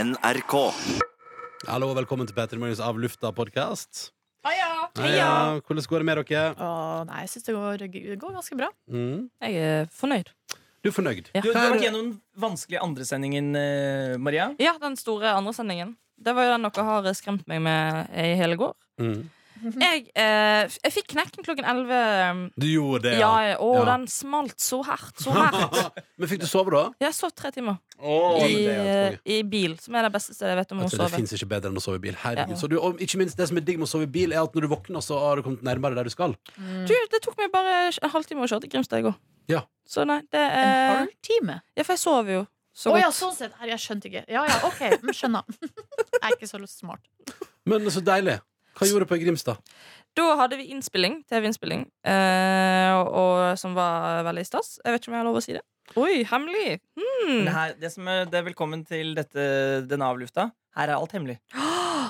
NRK. Hallo og velkommen til Petter Morgens Av lufta-podkast. Heia! Hvordan går det med dere? Å, nei, jeg syns det går, det går ganske bra. Mm. Jeg er fornøyd. Du er fornøyd? Ja. Du, du har vært gjennom den vanskelige andresendingen, eh, Maria. Ja, den store andresendingen. Det var jo den dere har skremt meg med i hele går. Mm. Mhm. Jeg, eh, f- jeg fikk knekken klokken 11. Du gjorde det, Ja, ja. ja, å, Ja. den smalt så hardt, så hardt. Men fikk du sove, da? Jeg sov tre timer Oh, i, eh, i bil, som er det beste stedet jeg vet om å Jeg tror Det sove. fins ikke bedre enn å sove i bil. Herregud. Ja. Så du, og ikke minst Det som er digg med å sove i bil, er at når du våkner, så har du kommet nærmere der du skal. Du, det tok meg bare en halvtime å kjøre til Grimstad i går. Ja. Så nei, En det er halvtime? Ja, for jeg sover jo Eh, Å så godt. ja, sånn sett. Herre, jeg skjønte ikke. Ja ja, OK. mm, Skjønner. Jeg er ikke så smart. Men så deilig. Hva gjorde du på i Grimstad? Da hadde vi innspilling, TV-innspilling, eh, og, som var veldig stas. Jeg vet ikke om jeg har lov å si det. Oi, hemmelig! Mm. Det, her, det, som er, det er velkommen til dette, denne avlufta. Her er alt hemmelig.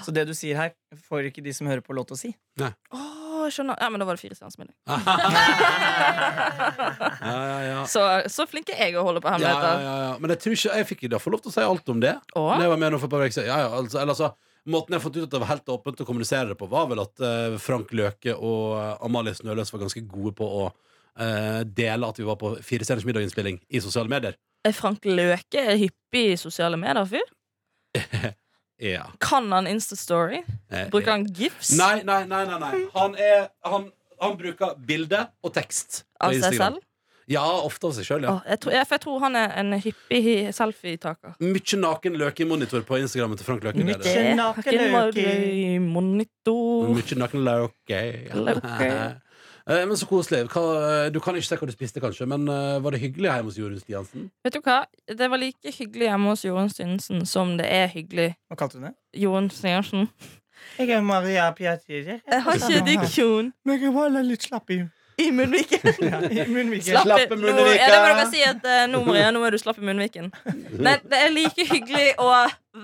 Så det du sier her, får ikke de som hører på, lov til å si. Åh, jeg skjønner. Ja, men da var det fire stjerners middag. Ja, ja, ja. Så, så flink er jeg å holde på Ah. Ja, ja, hemmeligheter. ja, ja. Men jeg tror ikke jeg fikk i hvert fall lov til å si alt om det. Åh? Når jeg var med nå for et par uker siden. Ja, ja, altså, eller, altså, måten jeg har fått ut at det var helt åpent å kommunisere det på, var vel at eh, Frank Løke og eh, Amalie Snøløs var ganske gode på å eh, dele at vi var på Firestjerners middaginnspilling i sosiale medier. Er Frank Løke en hyppig i sosiale medier-fyr? Ja. Kan han Insta-story? Eh, Bruker han gifs Nei, nei, nei. nei, nei. Han, er, han, han bruker bilde og tekst. på av seg Instagram. selv? Ja, ofte av seg sjøl, ja. Åh, jeg, tror, jeg, for jeg tror han er en hyppig hi- selfietaker. Mye naken løke-monitor på Instagrammen til Frank Løke. det er det. Mykje naken Løke. Monitor Mye naken lauke. Lauke. Eh, Men så koselig. Hva, du kan ikke se hva du spiste, kanskje, men eh, var det hyggelig hjemme hos Jorunn Stiansen? Vet du hva? Det var like hyggelig hjemme hos Jorunn Synsen som det er hyggelig Hva kalte hun det? Jorunn Stiansen. Jeg er Maria Piatiri. Jeg har ikke diksjon Men jeg var litt slapp i i munnviken. munnviken. Slapp Slapp i i nå, munnviken. ja, det må dere si at eh, nå, Maria, nå er du slapp i munnviken. Nei, det er like hyggelig å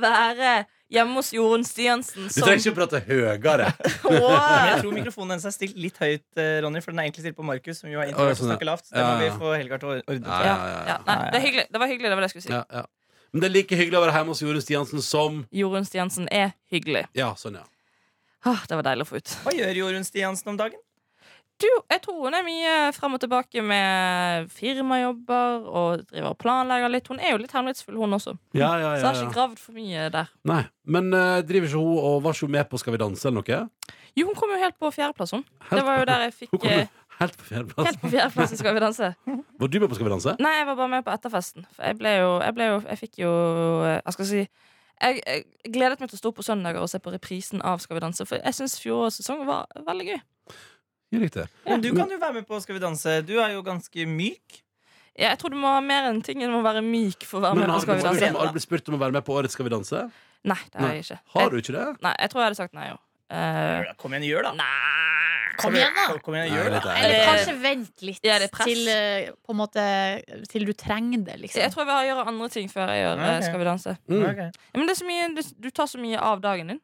være hjemme hos Jorunn Stiansen Du som trenger ikke prate høyere. Jeg Åh. tror mikrofonen hennes er stilt litt høyt, eh, Ronny, for den er egentlig stilt på Markus, som jo er Å, ja, sånn, introvert og ja. snakker lavt. Så det må Ja, vi ja. få Helga til å Ja, ordne til. ja, ja, ja. ja, nei, det, er hyggelig. det var hyggelig, det var det jeg skulle si. Ja, ja. Men det er like hyggelig å være hjemme hos Jorunn Stiansen som Jorunn Stiansen er hyggelig. Ja, sånn, ja. Åh, det var deilig å få ut. Hva gjør Jorunn Stiansen om dagen? Du, jeg tror hun er mye frem og tilbake med firmajobber og driver og planlegger litt. Hun er jo litt hemmelighetsfull, hun også. ja, ja, Så jeg ja, har ikke ja. gravd for mye der. Nei. Men eh, driver ikke hun og var ikke hun med på Skal vi danse eller noe? Jo, hun kom jo helt på fjerdeplass, hun. Det var jo der jeg Hun fikk kom jo eh, helt på fjerdeplass. Helt på fjerdeplass i Skal vi danse. Var du med på Skal vi danse? Nei, jeg var bare med på etterfesten. For jeg ble jo Jeg, ble jo, jeg fikk jo Jeg skal si jeg, jeg gledet meg til å stå opp på søndager og se på reprisen av Skal vi danse. For jeg syns fjorårets sesong var veldig gøy. Ja, riktig. Men du kan jo være med på Skal vi danse. Du er jo ganske myk. Ja, jeg tror du må ha mer enn ting enn å være myk for å være Men med på har du Skal vi blitt spurt danse. om- har du blitt spurt om å være med på Årets Skal vi danse? Nei, det har jeg ikke. Har Jeg, du ikke det? nei, jeg tror jeg hadde sagt nei òg. Ja, Kom igjen, gjør da. nei Kom igjen, da! Kom igjen, Nei, gjør det. vet jeg. Eller Eller- kanskje vent litt Ja, det er press. til, eh, på en måte, til du trenger det, Jeg liksom. tror jeg vil gjøre andre ting før jeg gjør eh, Ok. Skal vi danse. Mm. Ok. Ja, men det er så mye, du, du tar så mye av dagen din.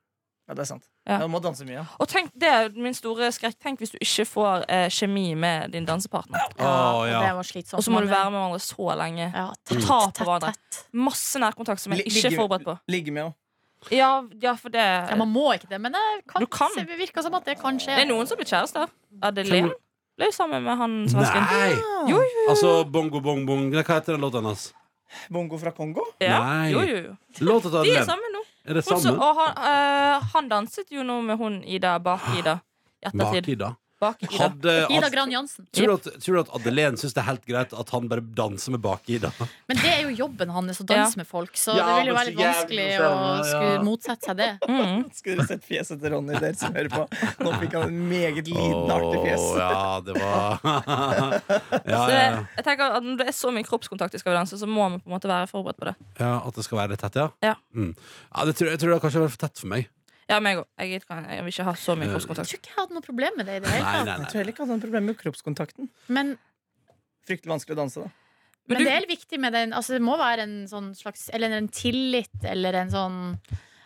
Ja, det er sant. Ja. Du må danse mye. Og tenk, det er min store skrekk. Tenk hvis du ikke får eh, kjemi med din dansepartner. Å, ja. og Det var slitsomt. eh, Og så må du være med hverandre så lenge. ja, Mm. tett, Ta på tett, hverandre. tett. Masse nærkontakt som jeg Li- ikke er ligger- forberedt på. Ligge med henne. Ja, ja for det Ja, man må ikke det, men det kan, Du kan. se- det virker som at det kan skje. Det er noen som blir kjærester. Adelén ble jo sammen med han svensken. Nei! Jo, Altså Bongo Bong Bong Hva heter den låta hans? Bongo fra Kongo? Ja. Nei. Jo, jo, jo. Låta til De er Adelén. sammen nå. Er det Hun så, samme? og han, eh, han danset jo nå med hun Ida Bak-Ida. I Bak ettertid. i da. Bak-Ida. Hadde Ida Ad- Gran Jansen. Tror du, at, tror du at Adelén syns det er helt greit at han bare danser med Bak-Ida? Men det er jo jobben hans, å danse med folk, så Ja, det vil jo men være litt så vanskelig jævlig å å se, ja, ja. skulle motsette seg det. Mm. Skulle dere sett fjeset til Ronny, dere som hører på? Nå fikk han en meget lidenaktig fjes. Åh, ja, det var ja, Så ja, det, ja. jeg tenker at Når det er så mye kroppskontakt i Skal vi danse, så må man på en måte være forberedt på det. ja, At det skal være litt tett, ja? Ja. Mm. ja det tror, jeg tror det har kanskje vært for tett for meg. Ja, meg òg. Jeg, gidder ikke- jeg vil ikke ha så mye Jeg kroppskontakt. tror ikke jeg hadde noe problem med det i det Nei, hele tatt. nei, Jeg nei. tror heller ikke han hadde problemer med kroppskontakten. Men, Fryktelig vanskelig å danse, da. men du- det er viktig med den altså, Det må være en sånn slags Eller en tillit, eller en sånn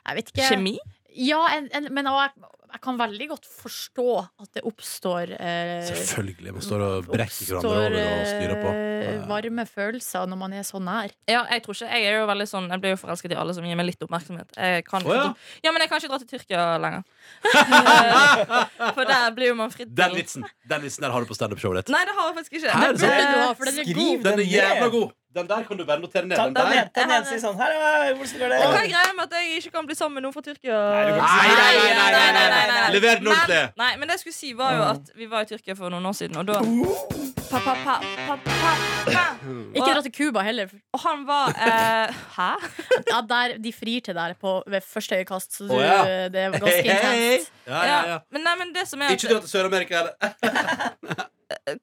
Jeg vet ikke. Kjemi? Ja, en, en, men også, jeg kan veldig godt forstå at det oppstår eh, Selvfølgelig. Man står og brekker hverandre oppstår, over og styrer på. eh, Ja. varme følelser når man er så nær. Ja, jeg tror ikke, jeg er jo veldig sånn Jeg blir jo forelsket i alle som gir meg litt oppmerksomhet. Jeg kan Å, ikke, ja. ja, men jeg kan ikke dra til Tyrkia lenger. Eh, For der blir jo man fritt Den vitsen den vitsen der har du på standup-showet ditt. Nei, det har jeg faktisk ikke. Hæ, er det sant? Burde du ha, Eh, for den er Skriv god. Den er ned. jævla god! Den der kan du bare notere ned. Ta Den den der. ned til den ene siden sånn. Her, hei, hvordan gjør Hva er det? greia med at jeg ikke kan bli sammen med noen fra Tyrkia? Nei, du kan Nei, nei, nei, nei, nei, nei, nei, nei. Lever den ordentlig! Men, nei, men det jeg skulle si var jo Mm. at vi var i Tyrkia for noen år siden, og da pa, pa, pa, pa, pa, pa. Ikke dra til Cuba heller. Og han var eh, Hæ? Ja, der, de frir til der på, ved første øyekast, så du, Å, ja. det er ganske intenst. Ja, ja, ja. Men, nei, men det som er Ikke dra til Sør-Amerika heller.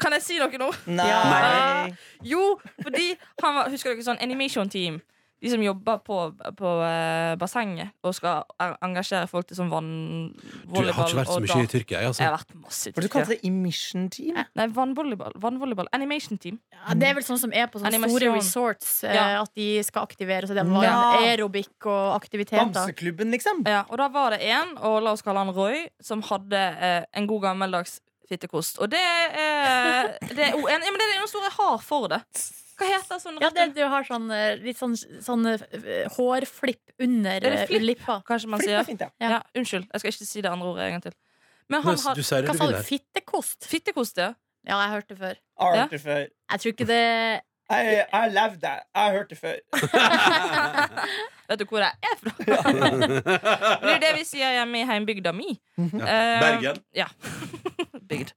Kan jeg si noe nå? Nei. Jo, fordi han var, Husker dere sånn animation team? De som jobber på, på eh, bassenget og skal en- engasjere folk til sånn Du jeg har vannvolleyball. ikke vært så og mye i dans. Tyrkia. Jeg, Jeg altså. har vært masse i For du Tyrkia. kalte det emission team? Nei, vannvolleyball. vannvolleyball. Animation team. Ja, det er vel sånn som er på sånne Animasjon. store resorts, eh, Ja. at de skal aktivere seg. Det var Ja. aerobic og aktiviteter. Bamseklubben, liksom? Ja, og da var det en, og la oss kalle han Roy, som hadde eh, en god gammeldags fittekost. Og det er, det er, jo en, ja, men det er noe stort jeg har for det. Hva heter sånn Ja, det, du har sånn eh, litt sånn, sånn eh, hårflipp under Er det eh, flipp? lippa. Kanskje man Flipp sier er fint, ja. ja. Unnskyld, jeg skal ikke si det andre ordet en gang til. Men han Nei, altså. har Du sier Hva det du sa vil du? her. Fittekost? fittekost, ja. Ja, jeg hørte det før. Jeg Ja. har hørt det før. Jeg tror ikke det Jeg jeg har levd det. Jeg har hørt det før. Vet du hvor jeg er fra? Men det er jo det vi sier hjemme i heimbygda mi. Mhm. Ja. Eh, Bergen. Ja. Bygd.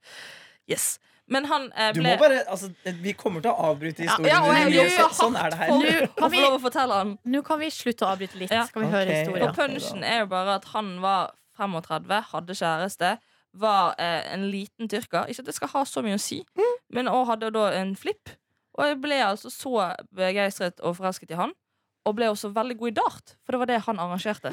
Yes. Men han eh, Du ble må bare, altså, vi kommer til å avbryte historien ja, og din jeg lurer uansett. Sånn er det her. på- Nå Kan kan få vi, lov å fortelle han. nå kan vi slutte å avbryte litt. Ja. Skal vi Ok. høre Ja. Og historien? punsjen er jo bare at han var 35, hadde kjæreste, var eh, en liten tyrker. Ikke at det skal ha så mye å si, Mm. men også hadde da en flipp. Og jeg ble altså så begeistret og forelsket i han. Og ble også veldig god i dart, for det var det han arrangerte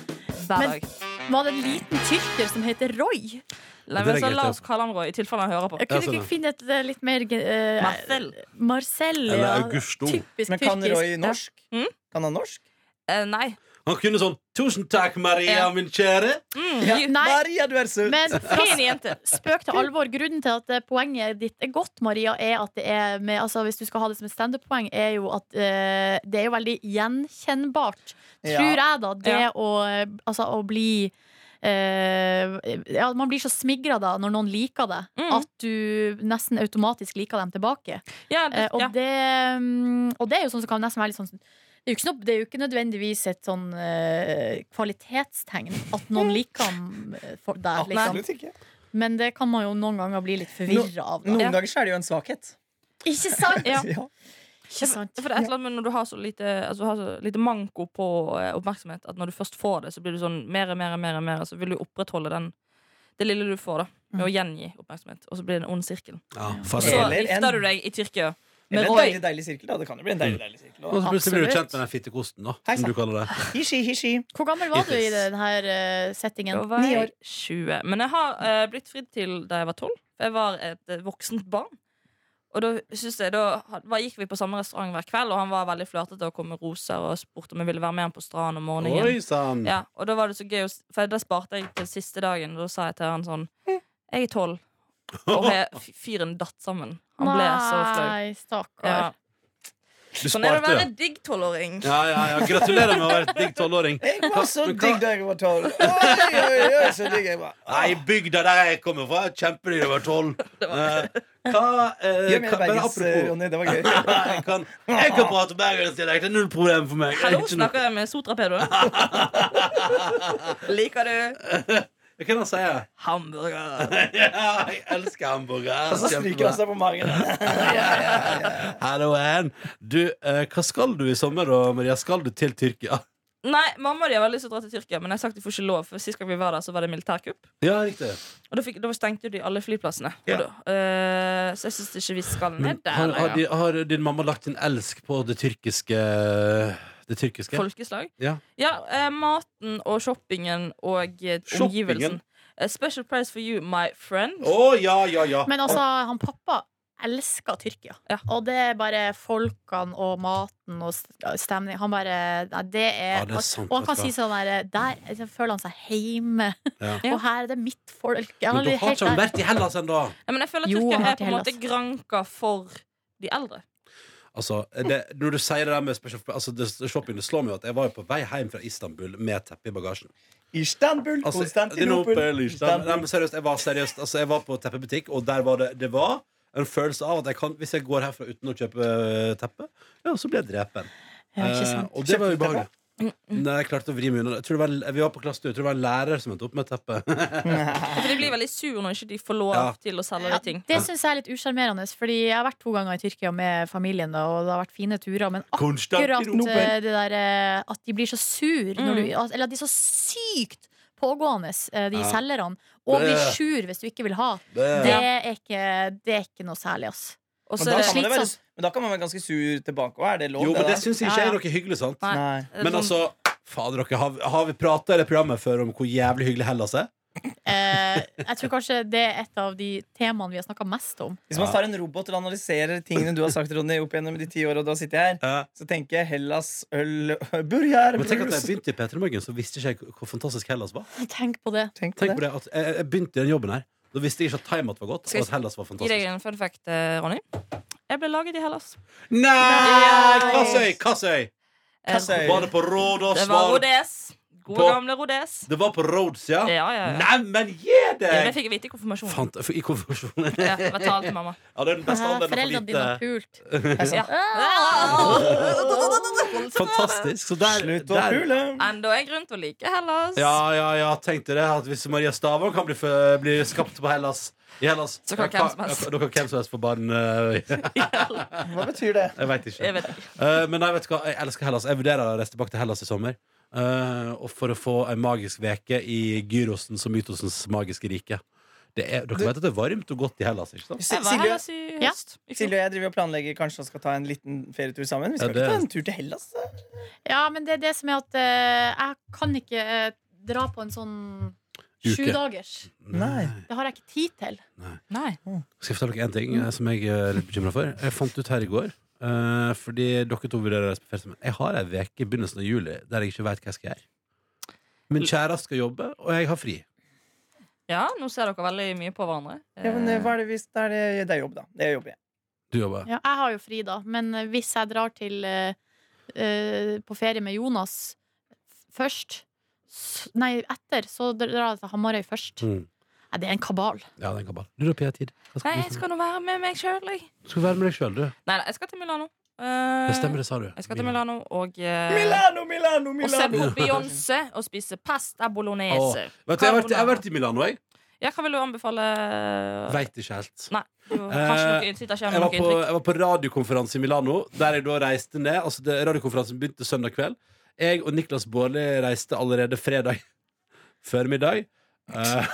hver Men- dag. Var det en liten tyrker som heter Roy? Nei, Det men er så greit, la ja. oss kalle han Roy, i tilfelle han hører på. Jeg kunne sånn, ja. ikke finne et eh, litt mer eh, Marcel. Marcel, Eller ja. Augusto. Typisk Men kan tyrkisk. Roy norsk? Mm. Kan han norsk? Eh, nei. Han kunne sånn 'Tusen takk, Maria, Ja. min kjære'. Mm, Ja. you- Nei. Maria, du er søt! Men fra Fin jente. spøk til alvor, grunnen til at eh, poenget ditt er godt, Maria, er at det er med, altså, Hvis du skal ha det som et standup-poeng, er jo at eh, det er jo veldig gjenkjennbart, Ja. tror jeg, da. Det Ja. å, eh, altså, å bli eh, ja, Man blir så smigra da når noen liker det, Mm. at du nesten automatisk liker dem tilbake. Ja, Eh, det, og, ja. det, mm, og det er jo sånn som kan nesten være litt sånn det er, jo ikke noe, det er jo ikke nødvendigvis et sånn eh, kvalitetstegn at noen Mm. liker ham eh, for deg. Liksom. Absolutt ikke. Men det kan man jo noen ganger bli litt forvirra av. Noen Da. Ja. ganger så er det jo en svakhet. Ikke sant? Ja. Ja. Ikke sant? For det er et eller annet med når du har så lite, altså, du har så lite manko på eh, oppmerksomhet, at når du først får det, så blir du sånn mer og mer og mer, og mer, og så vil du opprettholde den, det lille du får, da. Med å gjengi oppmerksomhet. Og så blir det en ond sirkel. Ja, Og fader. så Eller en- gifter du deg i Tyrkia med Eller en Roy. deilig, deilig sirkel, da. Det kan jo bli en deilig, deilig sirkel. Og Også. så plutselig blir du Absolutt. kjent med den fittekosten, da. Hei, Som sant. du kaller det. Hishi, hishi. Hvor gammel var du i Yes. denne eh, Da settingen? var Ni år. jeg 20. Men jeg har eh, blitt fridd til da jeg var 12. For jeg var et eh, voksent barn. Og da, synes jeg, da had- var- gikk vi på samme restaurant hver kveld, og han var veldig flørtete og kom med roser og spurte om jeg ville være med han på stranden om morgenen. Oi sann! Ja, og da var det så gøy å s- For da sparte jeg til siste dagen Og da sa jeg til han sånn Jeg er 12 Og he- f- fyren datt sammen Han ble så flau Nei, stakkar. ja. Du Sånn er det å være sparte. en digg 12-åring Ja, ja, ja. Gratulerer med å være et digg tolvåring. Jeg var så Men hva- digg da jeg var tolv. Oi, oi, oi, så digg jeg var. Nei, bygda der jeg kommer fra, er kjempedyr over tolv. Hva eh, Gjør mer hva- men bergens, eh, apropos- Ronny. Det var gøy. jeg kan, jeg kan prate bergensdialekt, det er null problem for meg. Hallo, Jeg er ikke noe- snakker jeg med Sotrapedo Liker du Hva kan han si? hamburger? Ja, jeg elsker hamburger. Og så stryker han seg på magen. Hallo, Ann. Du, eh, hva skal du i sommer, da, Maria? Skal du til Tyrkia? Nei, mamma og de har veldig lyst til å dra til Tyrkia Men jeg har sagt de får ikke lov For sist gang vi var der så var det militærkupp Ja, riktig. Og da, fikk, da stengte jo de alle flyplassene Og Ja. da, eh, Så jeg synes ikke vi skal Men ned der har, har, lenger. de, har din mamma lagt sin elsk på det tyrkiske Det tyrkiske? Folkeslag? Ja. eh, maten og shoppingen og eh, Shoppingen? omgivelsen. Eh, special prize for you, my friend. Å, ja, ja, ja. Men altså, han pappa elsker Tyrkia. Ja. Og det er bare folkene og maten og stemningen Han bare Nei, det er, Ja, det er sant, Og han kan vet du si sånn der Der jeg føler han seg hjemme. Ja. Og her er det mitt folk. Jeg Men da aldri har helt ikke han der. vært i Hellas ennå! Ja, men jeg føler at Jo, han Tyrkia har er på en vært i måte Hellas. granka for de eldre. Altså, det, når du sier det der med special, altså, det, shopping, det slår meg jo at jeg var jo på vei hjem fra Istanbul med teppe i bagasjen. Istanbul, Altså, Konstantinopel Konstantinopel, Istanbul. Nei, men seriøst, jeg var seriøst Altså, jeg var på teppebutikk, og der var det Det var en følelse av at jeg kan, hvis jeg går herfra uten å kjøpe eh, teppe, ja, så blir jeg drepen. Ja, ikke sant. Mm, Eh, og det var jo Kjøpte du teppe? ubehagelig. Nei, jeg klarte å vri meg unna. det. Jeg tror det var- Vi var på klassetur. Jeg tror det var en lærer som endte opp med teppe. For de blir veldig sur når ikke de får lov Ja. til å selge Ja, de ting. det syns jeg er litt usjarmerende, Fordi jeg har vært to ganger i Tyrkia med familien, da, og det har vært fine turer. Men akkurat Konstantinopel. eh, det der eh, at de blir så sur når du, at- Eller at de er så sykt pågående, eh, de Ja. selgerne. Og blir Bæ. sur hvis du ikke vil ha. Det Det- er ikke, det er ikke noe særlig, ass. Og Men så da, er kan det, man det være, slitsomt. men da kan man være ganske sur tilbake òg. Er det lov? Jo, men det det da? syns jeg ikke er noe hyggelig, sant? Nei. Nei. Men sånn- sånn- altså Fader, dere, har, har vi prata i det programmet før om hvor jævlig hyggelig Hellas er? Eh, jeg tror kanskje det er et av de temaene vi har snakka mest om. Hvis man tar en robot til å analysere tingene du har sagt, Ronny, opp gjennom de ti åra du har sittet her, Eh, så tenker jeg Hellas øl Burger! Men tenk at da jeg brus. begynte i P3 Morgen, så visste ikke jeg hvor- hvor fantastisk Hellas var. Tenk på det. Tenk på Tenk det. på det at jeg, jeg begynte i den jobben her. Da visste jeg ikke at Time Out var godt, Skal jeg og at Hellas var Gi deg fantastisk. en fun fact, eh, Ronny. Jeg ble laget i Hellas. Nei! Kassøy! Kassøy! Eh, Kassøy. Var det på Rådås? Det var var det- Rhodes. Gode På- gamle Rhodes. Det var på Rhodes, ja? Ja, ja, ja. Neimen, gi Ja, men jeg deg! fikk vite i konfirmasjonen. Fant, I konfirmasjonen. Ja, jeg betalte til mamma. Ja, det er den beste anledningen for Foreldrene dine har lite. pult. Ja. "Ah!" Fantastisk. Så der, Slutt å der pule! Enda en grunn til å like Hellas. Ja, ja, ja, tenkte det at Hvis Maria Stavang kan bli, fø- bli skapt på Hellas i Hellas Så kan ja, hvem som helst. ja, Da kan hvem som helst få barn. eh, Hva betyr det? Jeg veit ikke. Jeg vet ikke. Eh, men nei, vet du hva, jeg elsker Hellas. Jeg vurderer å reise tilbake til Hellas i sommer. Eh, og for å få ei magisk veke i Gyrosens og Mytosens magiske rike. Det er, dere vet at det er varmt og godt i Hellas, ikke sant? Si- Jeg var i Silje, Hellas i Ja. høst. I fjor. Silje og jeg driver og planlegger kanskje vi skal ta en liten ferietur sammen. Vi skal Ja, det- ikke ta en tur til Hellas. da. Ja, men det er det som er at eh, jeg kan ikke eh, dra på en sånn Uke. sjudagers. Nei. Det har jeg ikke tid til. Nei. Skal jeg fortelle dere en ting eh, som jeg er litt bekymra for? Jeg fant ut her i går eh, Fordi dere to vurderer å reise på ferie sammen. Jeg har ei veke i begynnelsen av juli der jeg ikke veit hva jeg skal gjøre. Min kjæreste skal jobbe, og jeg har fri. Ja, nå ser dere veldig mye på hverandre. Ja, men eh, hva er det hvis det er, det- det er jobb, da? Det er jobb, ja. Du jobber. Ja, jeg har jo fri, da. Men hvis jeg drar til eh, eh, på ferie med Jonas f- først s- Nei, etter, så drar jeg til Hamarøy først. Mm. Nei, det er en kabal. Ja, den kabal. Du, da, Pia Tid. Hva Eh, Nei, skal jeg du skal nå være med meg sjøl, jeg. Du skal være med deg sjøl, du. Nei, nei, jeg skal til Milano. Eh, Det stemmer, det sa du. Jeg skal til Milano og eh, Milano, Milano, Og se på Milano! Beyoncé og spise pasta bolognese. Vet du, jeg har vært- jeg har vært i Milano, jeg. Ja, hva vil du anbefale? Veit ikke helt. Nei, du har kanskje noe innsikt. Ikke Eh, jeg noe var, på, inntrykk. jeg var på radiokonferanse i Milano, der jeg da reiste ned. Altså, det, radiokonferansen begynte søndag kveld. Jeg og Niklas Baarli reiste allerede fredag formiddag. Eh,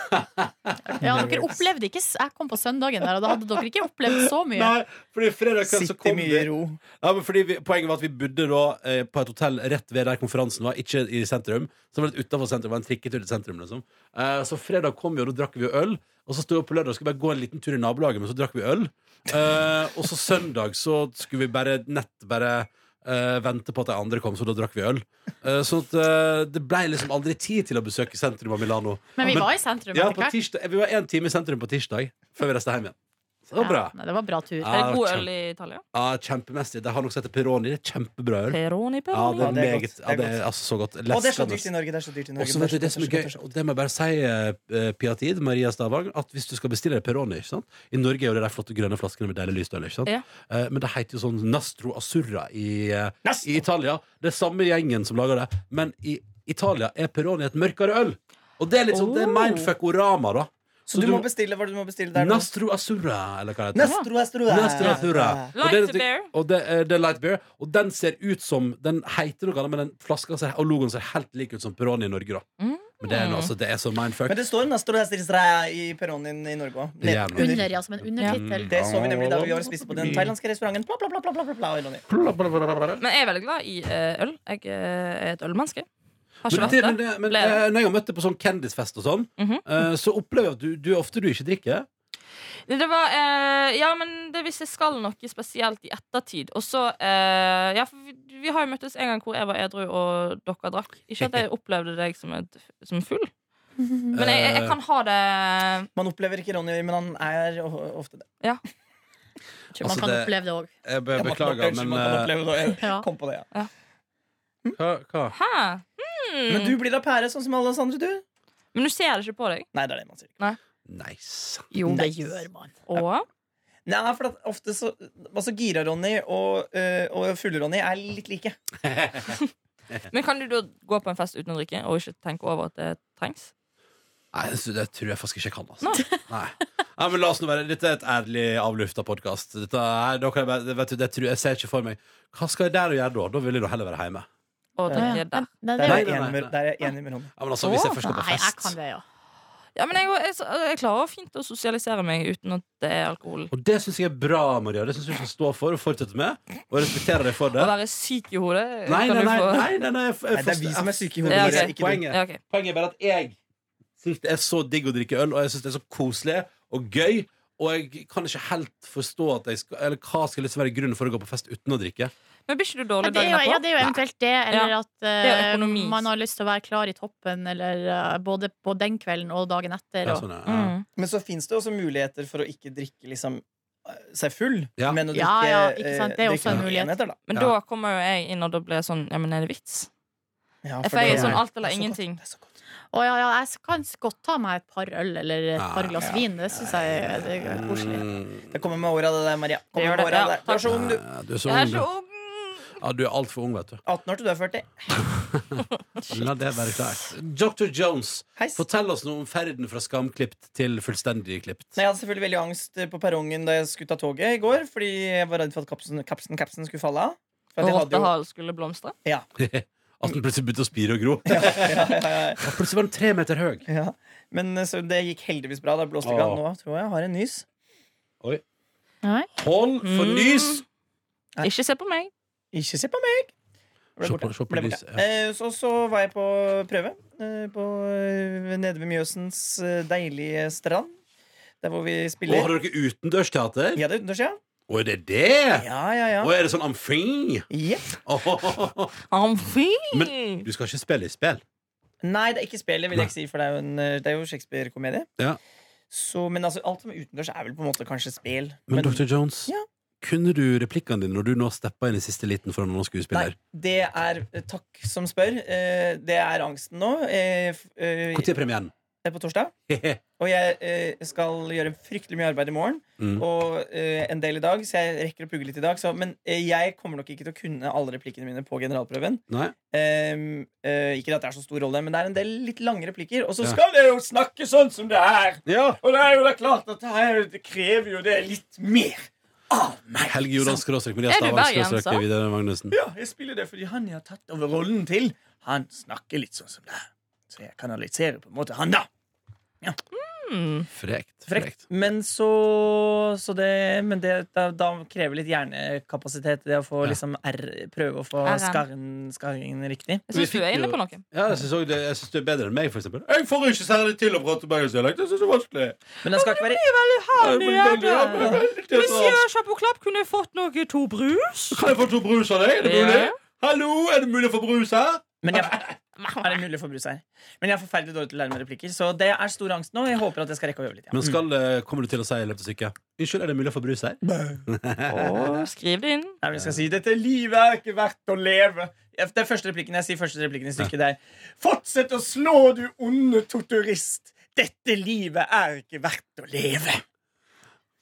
Ja, dere opplevde ikke s- Jeg kom på søndagen der, og da hadde dere ikke opplevd så mye. nei, fordi fredag kveld så Sitt i kom mye vi ro. ja, men fordi vi, Poenget var at vi bodde da eh, på et hotell rett ved der konferansen var, ikke i sentrum. Så det var litt utenfor sentrum, det var en trikketur til sentrum liksom. eh, Så fredag kom vi, og da drakk vi øl. Og så sto vi opp på lørdag og skulle bare gå en liten tur i nabolaget, men så drakk vi øl. Eh, og så søndag så skulle vi bare nett bare eh, vente på at de andre kom, så da drakk vi øl. Eh, så at, eh, det ble liksom aldri tid til å besøke sentrum av Milano. Men vi var i sentrum ja, etter på hvert. tirsdag, eh, Vi var én time i sentrum på tirsdag før vi reiste hjem igjen. Så det Ja, var bra. nei, det var bra tur. Ja, Er det Eh, god kjempe- øl i Italia? Ja, kjempemessig. De har noe som heter Peroni. Det er kjempebra øl. Peroni, Ja, peroni. det er Ja, det er meget godt. Det er ja, det er godt. altså så godt. Å, det er så Leskende. dyrt i Norge! Det er så dyrt i Norge. Og så altså. vet du, det som er gøy, så godt, det er så godt. og det må jeg bare si, eh, Pia Tid, Maria Stavang, at hvis du skal bestille deg Peroni ikke sant? I Norge er jo det de flotte grønne flaskene med deilig lysstøl, ikke sant? Ja. Eh, men det heter jo sånn Nastro Azzurra i, eh, Nastro! i Italia. Det er samme gjengen som lager det. Men i Italia er Peroni et mørkere øl. Og det er litt sånn, det er Oh. mindfuck-orama, da. Så du må bestille hva du må bestille der nå? Nastro Azzurra, eller hva det heter. Nastro Astura. Nastro Azzurra. Og Light det er- to bear. Og det, er- det er light beer. Og den ser ut som Den heter noe annet, men den flaska ser, og logoen ser helt lik ut som Peroni i Norge. da Mm. Men det er, noe- altså, det er så mindfuck. Men det står Nastro Astura i Peronien i Norge òg. Det er jævlig. Under, ja, som en undertittel. Det så vi nemlig da vi var og spiste på den thailandske restauranten. Bla, bla, bla, bla, bla, bla, bla, Ronny. Men jeg er veldig glad i eh, øl. Jeg eh, er et ølmenneske. Har Men, ikke det, men, vært det. det, men Ble det? eh, når jeg har møtt deg på sånn Kendisfest og sånn, Mhm. eh, så opplever jeg at du, du er ofte du ikke drikker. Nei, Det var eh, Ja, men det hvis jeg skal noe spesielt i ettertid. Og så eh, Ja, for vi, vi har jo møttes en gang hvor jeg var edru og dere drakk. Ikke at jeg opplevde deg som, et, som full, men jeg, jeg, jeg kan ha det Man opplever ikke Ronny, men han er o- ofte det. Tror man Altså, kan det- oppleve det òg. Jeg be Ja, man- beklager, unnskyld, men man kan eh, oppleve det. Jeg Ja. Kom på det, ja. hva, hva? Hæ? Hmm. Men du blir da pære, sånn som alle oss andre, du? Men du ser det ikke på deg. Nei, det er det man sier. Nice. Jo, det Nice. gjør man. Og Nei, for at ofte så Altså Gira-Ronny og, eh, og Fulle-Ronny er litt like. Men kan du da gå på en fest uten å drikke og ikke tenke over at det trengs? Nei, det, det tror jeg faktisk ikke jeg kan. Altså. Nei. Nei, men la oss nå være Dette er et ærlig avlufta podkast. Det, tror- jeg ser ikke for meg Hva skal jeg der og gjøre da? Da vil jeg nå heller være hjemme. Og Ja, drikke ja. der. Nei, det Der er er jo- jeg enig med, nei. der er jeg enig med Ronny. Ja, men altså, hvis jeg Åh, først skal på Nei, jeg fest kan det, ja. Ja, men jeg, jeg, jeg klarer fint å sosialisere meg uten at det er alkohol. Og det syns jeg er bra, Maria. Det syns jeg du skal stå for og fortsette med. Og respektere deg for Å det. være syk i hodet Nei, kan nei, du nei, få- nei, nei, nei, jeg- jeg Nei, det er forstår- vi som er syke i Ja, hodet. ok. dere, Ikke du. Poenget, Ja, ok. poenget er bare at jeg syns det er så digg å drikke øl, og jeg syns det er så koselig og gøy. Og jeg kan ikke helt forstå at jeg skal, eller hva skal liksom være grunnen for å gå på fest uten å drikke. Men blir ikke du Ja, dårlig det er dagen jo, ja, etterpå? det er jo eventuelt det, eller at er jo eh, økonomi. man har lyst til å være klar i toppen, eller eh, både på den kvelden og dagen etter. Ja, Og. sånn, ja. Mm. Men så fins det også muligheter for å ikke drikke liksom eh, seg full, Ja. men å drikke, Ja, ja, ikke sant. Det er eh, også en drikke mulighet. enheter, da. Men Ja. da kommer jo jeg inn, og da blir jeg sånn Ja, men er det vits? Ja, Jeg for feier det- sånn alt eller Det er så godt, ingenting. det er så godt. Og ja, ja, jeg kan godt ta meg et par øl eller et par Ah, Ja, glass ja. vin. Det syns jeg er- det er koselig. Mm. Det kommer med åra, det der, Maria. Kommer gjør med det, åra, ja. det der. Du er så ung, du. Nei, Du er så Jeg er ung, så du. ung! Ja, du er altfor ung, vet du. 18 år til du er 40. La det være klart. Dr. Jones, Heis. fortell oss noe om ferden fra skamklipt til fullstendig klipt. Nei, jeg hadde selvfølgelig veldig angst eh, på perrongen da jeg skulle ta toget i går, fordi jeg var redd for at kapsen, kapsen, kapsen skulle falle av. For at Og jeg hadde jo rottehalen skulle blomstre. At den plutselig begynte å spire og gro. Ja, plutselig var den tre meter høy. ja. Men eh, så det gikk heldigvis bra. Da blåste ikke av. Nå tror jeg jeg har en nys. Hold for Mm. nys! Nei. Ikke se på meg. Ikke se på meg! Ble Se på- borte. se på Ble borte. lyset, ja. Eh, Så, så var jeg på prøve eh, på, eh, nede ved Mjøsens eh, deilige strand. Der hvor vi Og har spiller. dere utendørsteater? Ja, det er utendørs, ja. Å, er det det? Ja, ja, ja. Å, er det sånn amfi? Jepp. Åhåhåhå. Han fin! Men- Du skal ikke spille i spill? Nei, det er ikke spillet, vil jeg ikke si, for det er jo, en, eh, det er jo Shakespeare-komedie. Ja. Så, men altså, alt som er utendørs, er vel på en måte kanskje spel. Men Dr. Jones, Ja. kunne du replikkene dine når du nå steppa inn i siste liten foran noen skuespiller? Nei, det er eh, Takk som spør. Eh, Det er angsten nå. Eh, f- eh, Når er premieren? Det er på torsdag. Og jeg eh, skal gjøre fryktelig mye arbeid i morgen. Mm. Og eh, en del i dag, så jeg rekker å pugge litt i dag. Så, men eh, jeg kommer nok ikke til å kunne alle replikkene mine på generalprøven. Nei? Ehm, eh, ikke at det er så stor rolle, men det er en del litt lange replikker. Og så Ja. skal jeg jo snakke sånn som det er! Ja. Og det er jo det er klart at det, her, det krever jo det litt mer av meg. Sånn. Helge Jordal skråstrek Maria Er du Stavang bergenser? skråstrek Vidar Magnussen. Ja, jeg spiller det fordi han jeg har tatt over rollen til, han snakker litt sånn som det er. Så jeg kanaliserer på en måte han, da. Mm. Frekt. Frekt. Frekt. Men så, så det, men det da, da krever litt hjernekapasitet det å få Ja. liksom R, prøve å få RM. skarren, skarringen riktig. Jeg Vi syns du fikk er inne jo- på noe. Ja, jeg syns det, jeg synes det er bedre enn meg, for eksempel. Jeg får ikke særlig til å prate bergensdialekt. Jeg syns det er vanskelig. Men den skal ikke være Chapeau-klapp, kunne jeg fått noe to brus? Kan jeg få to brus av deg? Er det mulig? Ja. Hallo, er det mulig å få brus her? men jeg, er det mulig å få brus her? Men jeg er forferdelig dårlig til å lære meg replikker, så det er stor angst nå. Jeg håper at jeg skal rekke å øve litt. Ja. Men skal, eh, kommer du til å si i løpet av stykket Unnskyld, er det mulig å få brus her? Skriv det inn. Nei, men jeg skal si Dette livet er ikke verdt å leve. Det er første replikken jeg sier første replikken i stykket der. Fortsett å slå, du onde torturist. Dette livet er ikke verdt å leve.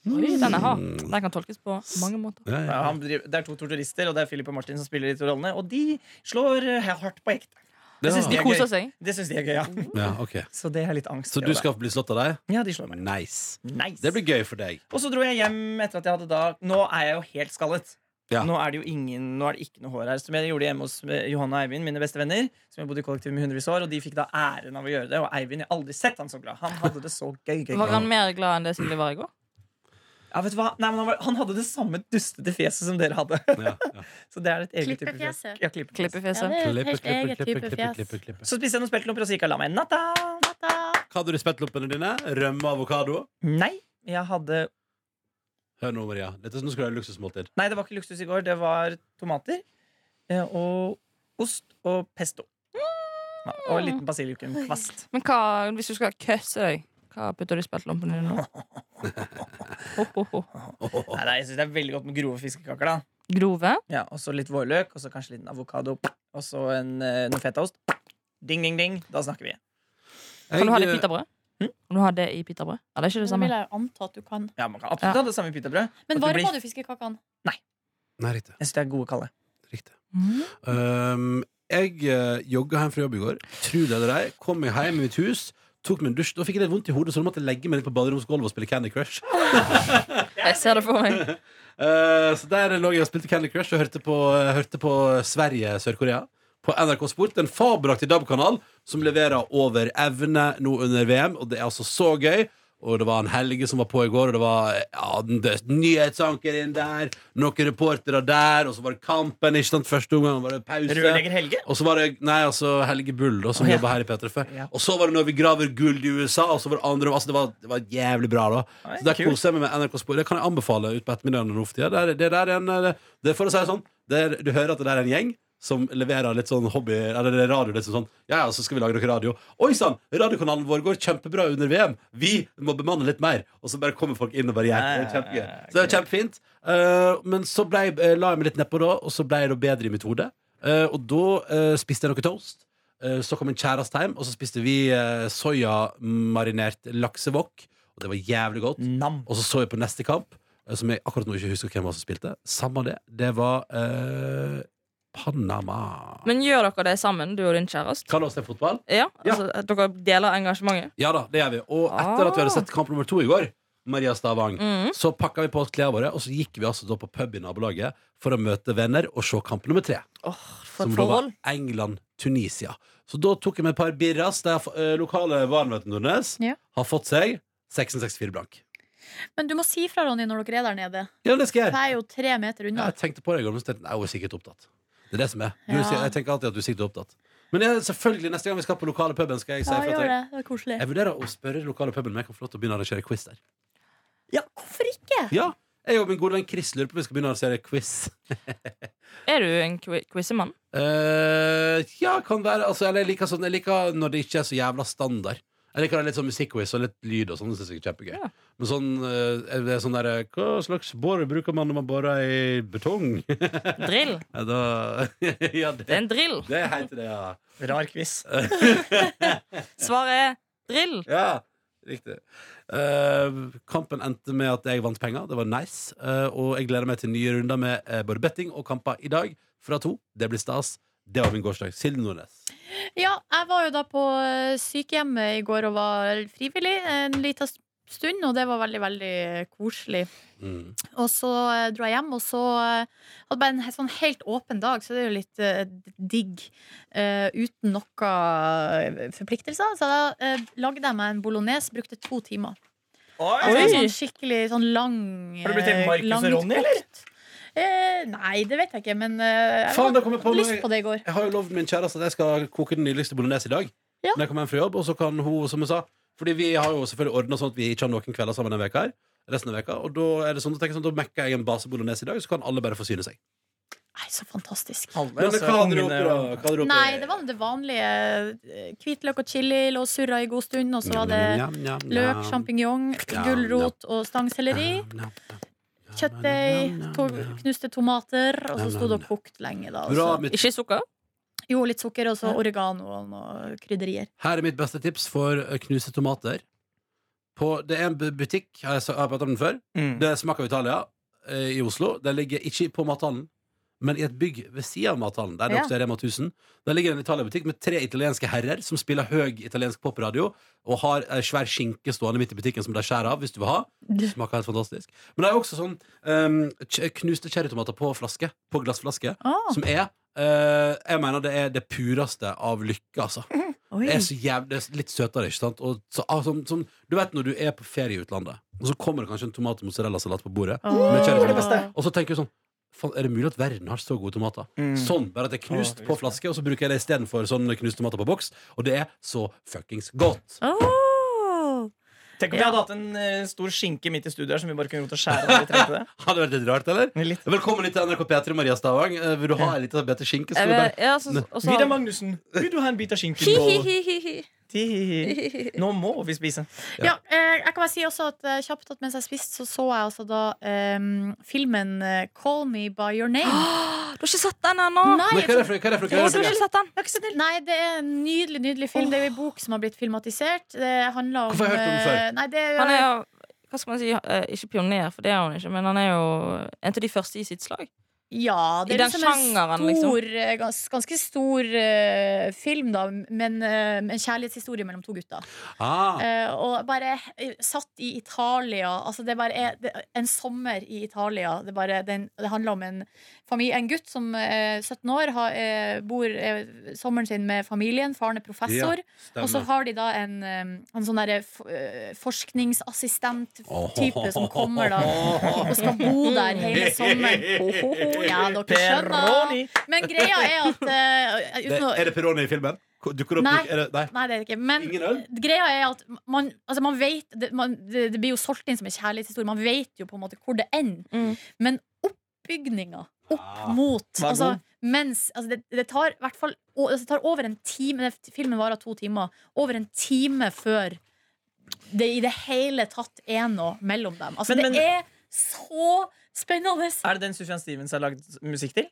Oi, den er hard. Den kan tolkes på mange måter. Ja, Ja, ja. han bedriver, det er to torturister, og det er Philip og Martin som spiller de to rollene. Og de slår eh, hardt på ekte. Det synes var- De Det er gøy. koser seg. Det syns de er gøy, ja. ja, ok Så det er litt angst. Mm. Så i du det. skal bli slått av deg? Ja, de slår meg. Nice. Nice. Det blir gøy for deg. Og så dro jeg hjem etter at jeg hadde da Nå er jeg jo helt skallet. Ja. Nå er det jo ingen, nå er det ikke noe hår her. Som jeg gjorde hjemme hos eh, Johanne og Eivind, mine beste venner. Som jeg bodde i kollektiv med i hundrevis av år, og de fikk da æren av å gjøre det. Og Eivind, jeg har aldri sett han så glad. Han hadde det så gøy. gøy, gøy. Var han mer glad enn det Silje var i går? Ja, vet du hva? Nei, men han, var, han hadde det samme dustete fjeset som dere hadde. Ja, ja. Så det er et eget type fjes. Klippefjeset. Ja, klippefjes. Klipp i Ja, fjeset. det er et Klippe, klippe, helt eget klippe, type klippe, klippe, fjes. klippe. Så spiste jeg noen speltlomper og så gikk alarmen. Natta! Natta. Hva hadde du i speltloppene dine? Rømme, avokado? Nei, Jeg hadde Hør nå, Maria. Dette, nå skal du ha luksusmåltid. Nei, det var ikke luksus i går. Det var tomater eh, og ost og pesto. Ja, og en liten basilikumkvast. Men hva, hvis du skal køsse deg, hva putter du i speltlompene dine nå? Ho, ho, ho. Nei, nei, jeg synes det er veldig godt med grove fiskekaker. da Grove? Ja, Og så litt vårløk, og så kanskje litt avokado, og så en, eh, noe fetaost. Ding, ding, ding. Da snakker vi. Kan du ha det i Jeg, eh, pitabrød? Kan du ha det i pitabrød? Ja, det er ikke det Det vil samme. jeg jo anta at du kan. Ja, Man kan absolutt Ja. ha det samme i pitabrød. Men At det blir- varma du fiskekakene? eh, Nei, riktig. Jeg synes det er gode, Kalle. riktig. Mm. Um, jeg uh, jogga hjem fra jobb i går. Tro det eller ei. Kom meg hjem i mitt hus, tok meg en dusj. Da fikk jeg litt vondt i hodet, så da måtte jeg legge meg litt på baderomsgulvet og spille Candy Crush. Jeg ser det for meg. Eh, så der lå jeg og spilte Candy Crush og hørte på, eh, hørte på Sverige, Sør-Korea. På NRK Sport, en fabelaktig DAB-kanal som leverer over evne nå under VM. Og det er altså så gøy. Og det var en Helge som var på i går, og det var ja, den dø- nyhetsanker inn der, noen reportere der, og så var det kampen, ikke sant? Første omgang var det pause. Rørlegger Helge? Og så var det nei, altså Helge Bull, da, som Å, ja. jobba her i P3 før. Ja. Og så var det Når vi graver gull i USA, og så var det andre altså, det, var, det var jævlig bra, da. Oi, så der kult. koser jeg meg med NRK Sport. Det kan jeg anbefale ut på ettermiddagen. nå for tida. Det, er- det der er en eh, det er For å si det sånn, det er, du hører at det der er en gjeng. Som leverer litt sånn hobby Eller det er radio. Liksom sånn Ja, ja, så skal vi lage noe radio. Oi sann! Radiokanalen vår går kjempebra under VM. Vi må bemanne litt mer. Og så bare kommer folk inn og bare gjør det. er Kjempegøy. Så det er kjempefint. Eh, men så ble, jeg- eh, la jeg meg litt nedpå da, og så ble jeg da bedre i mitt hode. Eh, og da eh, spiste jeg noe toast. Eh, så kom en kjæreste hjem, og så spiste vi uh, soyamarinert laksevokk. Og det var jævlig godt. Nam. Og så så jeg på neste kamp, eh, som jeg akkurat nå ikke husker hvem var som spilte. Samme det. Det var eh, Panama. Men gjør dere det sammen, du og din kjæreste? Kan du også se fotball? Ja, altså, at dere deler engasjementet? Ja da, det gjør vi. Og etter at vi hadde sett kamp nummer to i går, Maria Stavang, Mm. så pakka vi på oss klærne våre, og så gikk vi altså da på pub i nabolaget for å møte venner og se kamp nummer tre. Åh, for Som et da var forhold. England-Tunisia. Så da tok jeg med et par birras. Der eh, lokale varen, vet du, Nordnes, Ja. har fått seg 1664 blank. Men du må si fra, Ronny, når dere er der nede. Ja, det skal jeg. Jeg er jo tre meter Ja, unna. jeg tenkte på det i går, men så tenkte jeg, nei, hun er sikkert opptatt. Det er det som er. Du, Ja. sier- Jeg tenker alltid at du er sikkert opptatt. Men jeg, selvfølgelig, neste gang vi skal på lokale puben, skal jeg si Ja, ifra gjør til det. deg. Det er koselig. Jeg vurderer å spørre lokale puben om jeg kan få lov til å begynne å arrangere quiz der. Ja, hvorfor ikke? Ja, jeg og min gode venn Chris lurer på om vi skal begynne å arrangere quiz. Er du en qui- quizemann? Eh, ja, kan være. Altså, eller jeg liker sånn Jeg liker når det ikke er så jævla standard. Jeg liker litt sånn musikkquiz og litt lyd og sånn. Det synes jeg er kjempegøy. Ja. Men sånn, eh, det er sånn derre Hva slags borer bruker man når man borer i betong? Drill. Ja, da, ja, Det er det, en drill. det heter det, ja. Rar quiz. Svaret er drill. Ja, riktig Eh, Kampen endte med at jeg vant penger Det var nice Eh, Og jeg gleder meg til nye runder med eh, både betting og kamper i dag Fra to, det blir stas Det var min gårsdag, Silden Nordnes Ja, jeg var jo da på eh, sykehjem i går og var frivillig en liten stund, og det var veldig, veldig koselig. mm. Og så eh, dro jeg hjem, og så eh, hadde bare en he- sånn helt åpen dag, så det er jo litt eh, d- digg. eh, uten noe eh, forpliktelser. Så da eh, lagde jeg meg en bolognese, brukte to timer. Oi! Altså en Oi! sånn skikkelig sånn lang Har du blitt helt eh, Marcus og langutkokt. Ronny, eller? Eh, nei, det vet jeg ikke, men eh, jeg Faen, da hadde kom jeg på lyst meg- på det i går. Jeg har jo lovd min kjæreste at jeg skal koke den nydeligste bolognese i dag Ja. Når jeg kommer hjem fra jobb Og så kan hun, som hun sa Fordi vi har jo selvfølgelig ordnet sånn at vi ikke har noen kvelder sammen denne veka her Resten av veka Og da er det sånn, da tenker jeg sånn Da mekker jeg en base bolognese i dag Så kan alle bare forsyne seg Nei, så fantastisk. Alle, Men altså, hva hadde du ungene- oppi da? Hva hadde du oppi? Nei, det var det vanlige. eh, Hvitløk og chili lå og surra i god stund. Og så var det Njam, njam, njam, løk, njam. sjampinjong, Ja, gulrot og stangselleri. Kjøttdeig, to- altså, knuste tomater, og så sto det og kokte lenge. da og Bra, så- mitt, Ikke sukker? Jo, litt sukker, og så oregano og noe krydderier. her er mitt beste tips for eh, knuse tomater. På, det er en bu- butikk, har jeg sa- har jeg pratet om den før. Mm. Det smaker av Italia eh, i Oslo. Den ligger ikke på mathallen, men i et bygg ved siden av mathallen. Der det Ja. også er Rema 1000. Der ligger det en Italia-butikk med tre italienske herrer som spiller høy italiensk popradio, og har ei svær skinke stående midt i butikken som de skjærer av hvis du vil ha. Smaker helt fantastisk. Men det er også sånn eh, kj- knuste cherrytomater på flaske. På glassflaske. Ah, Som er eh, Jeg mener det er det pureste av lykke, altså. oi. Det er så jævlig, det er litt søtere, ikke sant? Og så, ah, sånn- sånn- du vet når du er på ferie i utlandet, og så kommer det kanskje en tomat- og mozzarella-salat på bordet, Åh. kjører det beste. og så tenker du sånn Faen, er det mulig at verden har så gode tomater? Mm. Sånn, bare at det er knust Åh, på flaske, og så bruker jeg det istedenfor sånn knuste tomater på boks, og det er så fuckings godt. Åh. Tenk om vi Ja. hadde hatt en eh, stor skinke midt i studio her som vi bare kunne gått og skjære av. når vi trengte det. Hadde vært litt rart, eller? Litt. Velkommen hit til NRK P3, Maria Stavang. Eh, Vil du ha en liten bete skinke? Skal Eh, Jeg vi vil- bare- ja, så- og så- Vidar Magnussen, vil du ha en bit av skinken? nå? Hi-hi-hi-hi. Ti-hi-hi. Nå må vi spise. Ja, eh, jeg kan bare si også at eh, kjapt at mens jeg spiste, så så jeg altså da em, filmen eh, Call Me By Your Name. Du har ikke sett den Nei, ennå? Nei, hva jeg er det tror- for hva er det for- hva Å, er det Du for- har ikke sett den? jeg har ikke sett den. Nei, det er en nydelig nydelig film. Det er jo en bok som har blitt filmatisert. Det handler om Hvorfor har jeg hørt om den før? eh, Nei, det er jo, Han er jo hva skal man si, eh, ikke pioner, for det er hun ikke, men han er jo en av de første i sitt slag. Ja, det I er den liksom sjangeren, en stor, eh, gans, ganske stor eh, film, da, men eh, en kjærlighetshistorie mellom to gutter. Ah, Eh, og bare eh, satt i Italia Altså, det bare er det, en sommer i Italia. Det, bare, det, er en- det handler om en, familie, en gutt som er 17 år, har, eh, bor eh, sommeren sin med familien. Faren er professor. stemmer. Og så har de da en, um, en sånn derre f- eh, forskningsassistent-type som kommer da og skal bo der hele sommeren. Ho, ho, ho. Ja, dere skjønner. Peroni. Men greia er at eh, Det, uten å er det Peroni i filmen? Ko- Dukker det opp Nei. Er det, nei. Nei, det er det ikke. Men Ingen øl? greia er at man, altså man vet det, man, det, det blir jo solgt inn som en kjærlighetshistorie. Man vet jo på en måte hvor det ender. Mm. Men oppbygninga opp Ah. mot Var altså, god. mens, altså det, det tar i hvert fall å- altså det tar over en time det- Filmen varer to timer. Over en time før det i det hele tatt er noe mellom dem. Altså, Men- men- det er så spennende! Er det den Sufjan Stevens har lagd musikk til?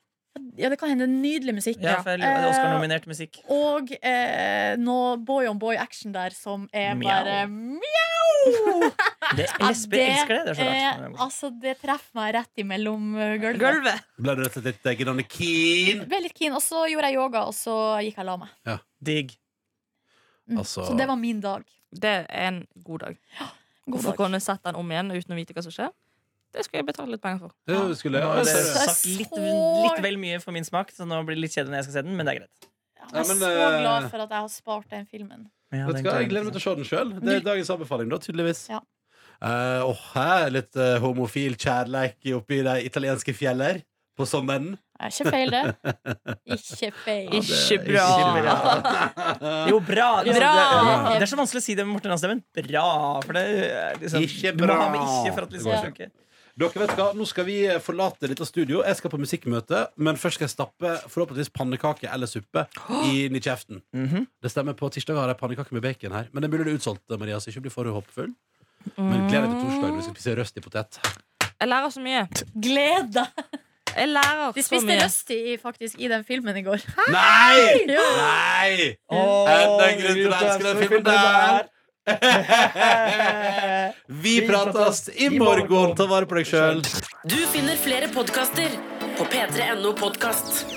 Ja, det kan hende nydelig musikk. Ja, for jeg lurer- Eh, det er Oscar-nominert musikk. Og eh, noe boy on boy action der som er Mjau. bare mjau! Det, lesber elsker det. Det er så eh, rart. altså, det treffer meg rett imellom eh, gulvet. Gulvet! Ble du rett og slett deg i keen? Ble litt keen, og så gjorde jeg yoga, og så gikk jeg og la meg. Digg. Mm. Altså- Så det var min dag. Det er en god dag. God Hvorfor dag. kunne sett den om igjen uten å vite hva som skjer? Det skulle jeg betale litt penger for. Det skulle jeg Nå ja, har det det ser du. sagt litt, litt vel mye for min smak, så nå blir det litt kjedelig når jeg skal se den, men det er greit. Jeg Ja, er men, så eh, glad for at jeg har spart den filmen. Ja, Vet den du hva, Jeg kan jeg gleder meg til å se den sjøl. Det er dagens anbefaling, da, tydeligvis. Ja. Eh, og her, litt eh, homofil kjærleik oppi de italienske fjeller på sommeren. Det er ikke feil, det. Ikke feil. Ikke ikke bra! bra. Jo, bra! liksom. Bra! Det, det er så vanskelig å si det med Morten Ransdemmen. Bra! For det er liksom, Ikke Du må bra. ha med ikke for at liksom, Ja. det skal funke. Dere vet hva, Nå skal vi eh, forlate dette studio. Jeg skal på musikkmøte, men først skal jeg stappe forhåpentligvis pannekake eller suppe inn i kjeften. Mhm. Det stemmer, på tirsdag har jeg pannekake med bacon her. Men det er mulig det er utsolgt, Maria, så ikke bli for håpefull. Mm. Men gled deg til torsdag når vi skal spise røst i potet. Jeg lærer så mye. Gled deg! Jeg lærer De så spiste mye. Rusty i- faktisk i den filmen i går. Nei! Ja. Nei! Åh, Enda en grunn til å elske den filmen der! Vi prates i morgen. Ta vare på deg sjøl. Du finner flere podkaster på p3.no podkast.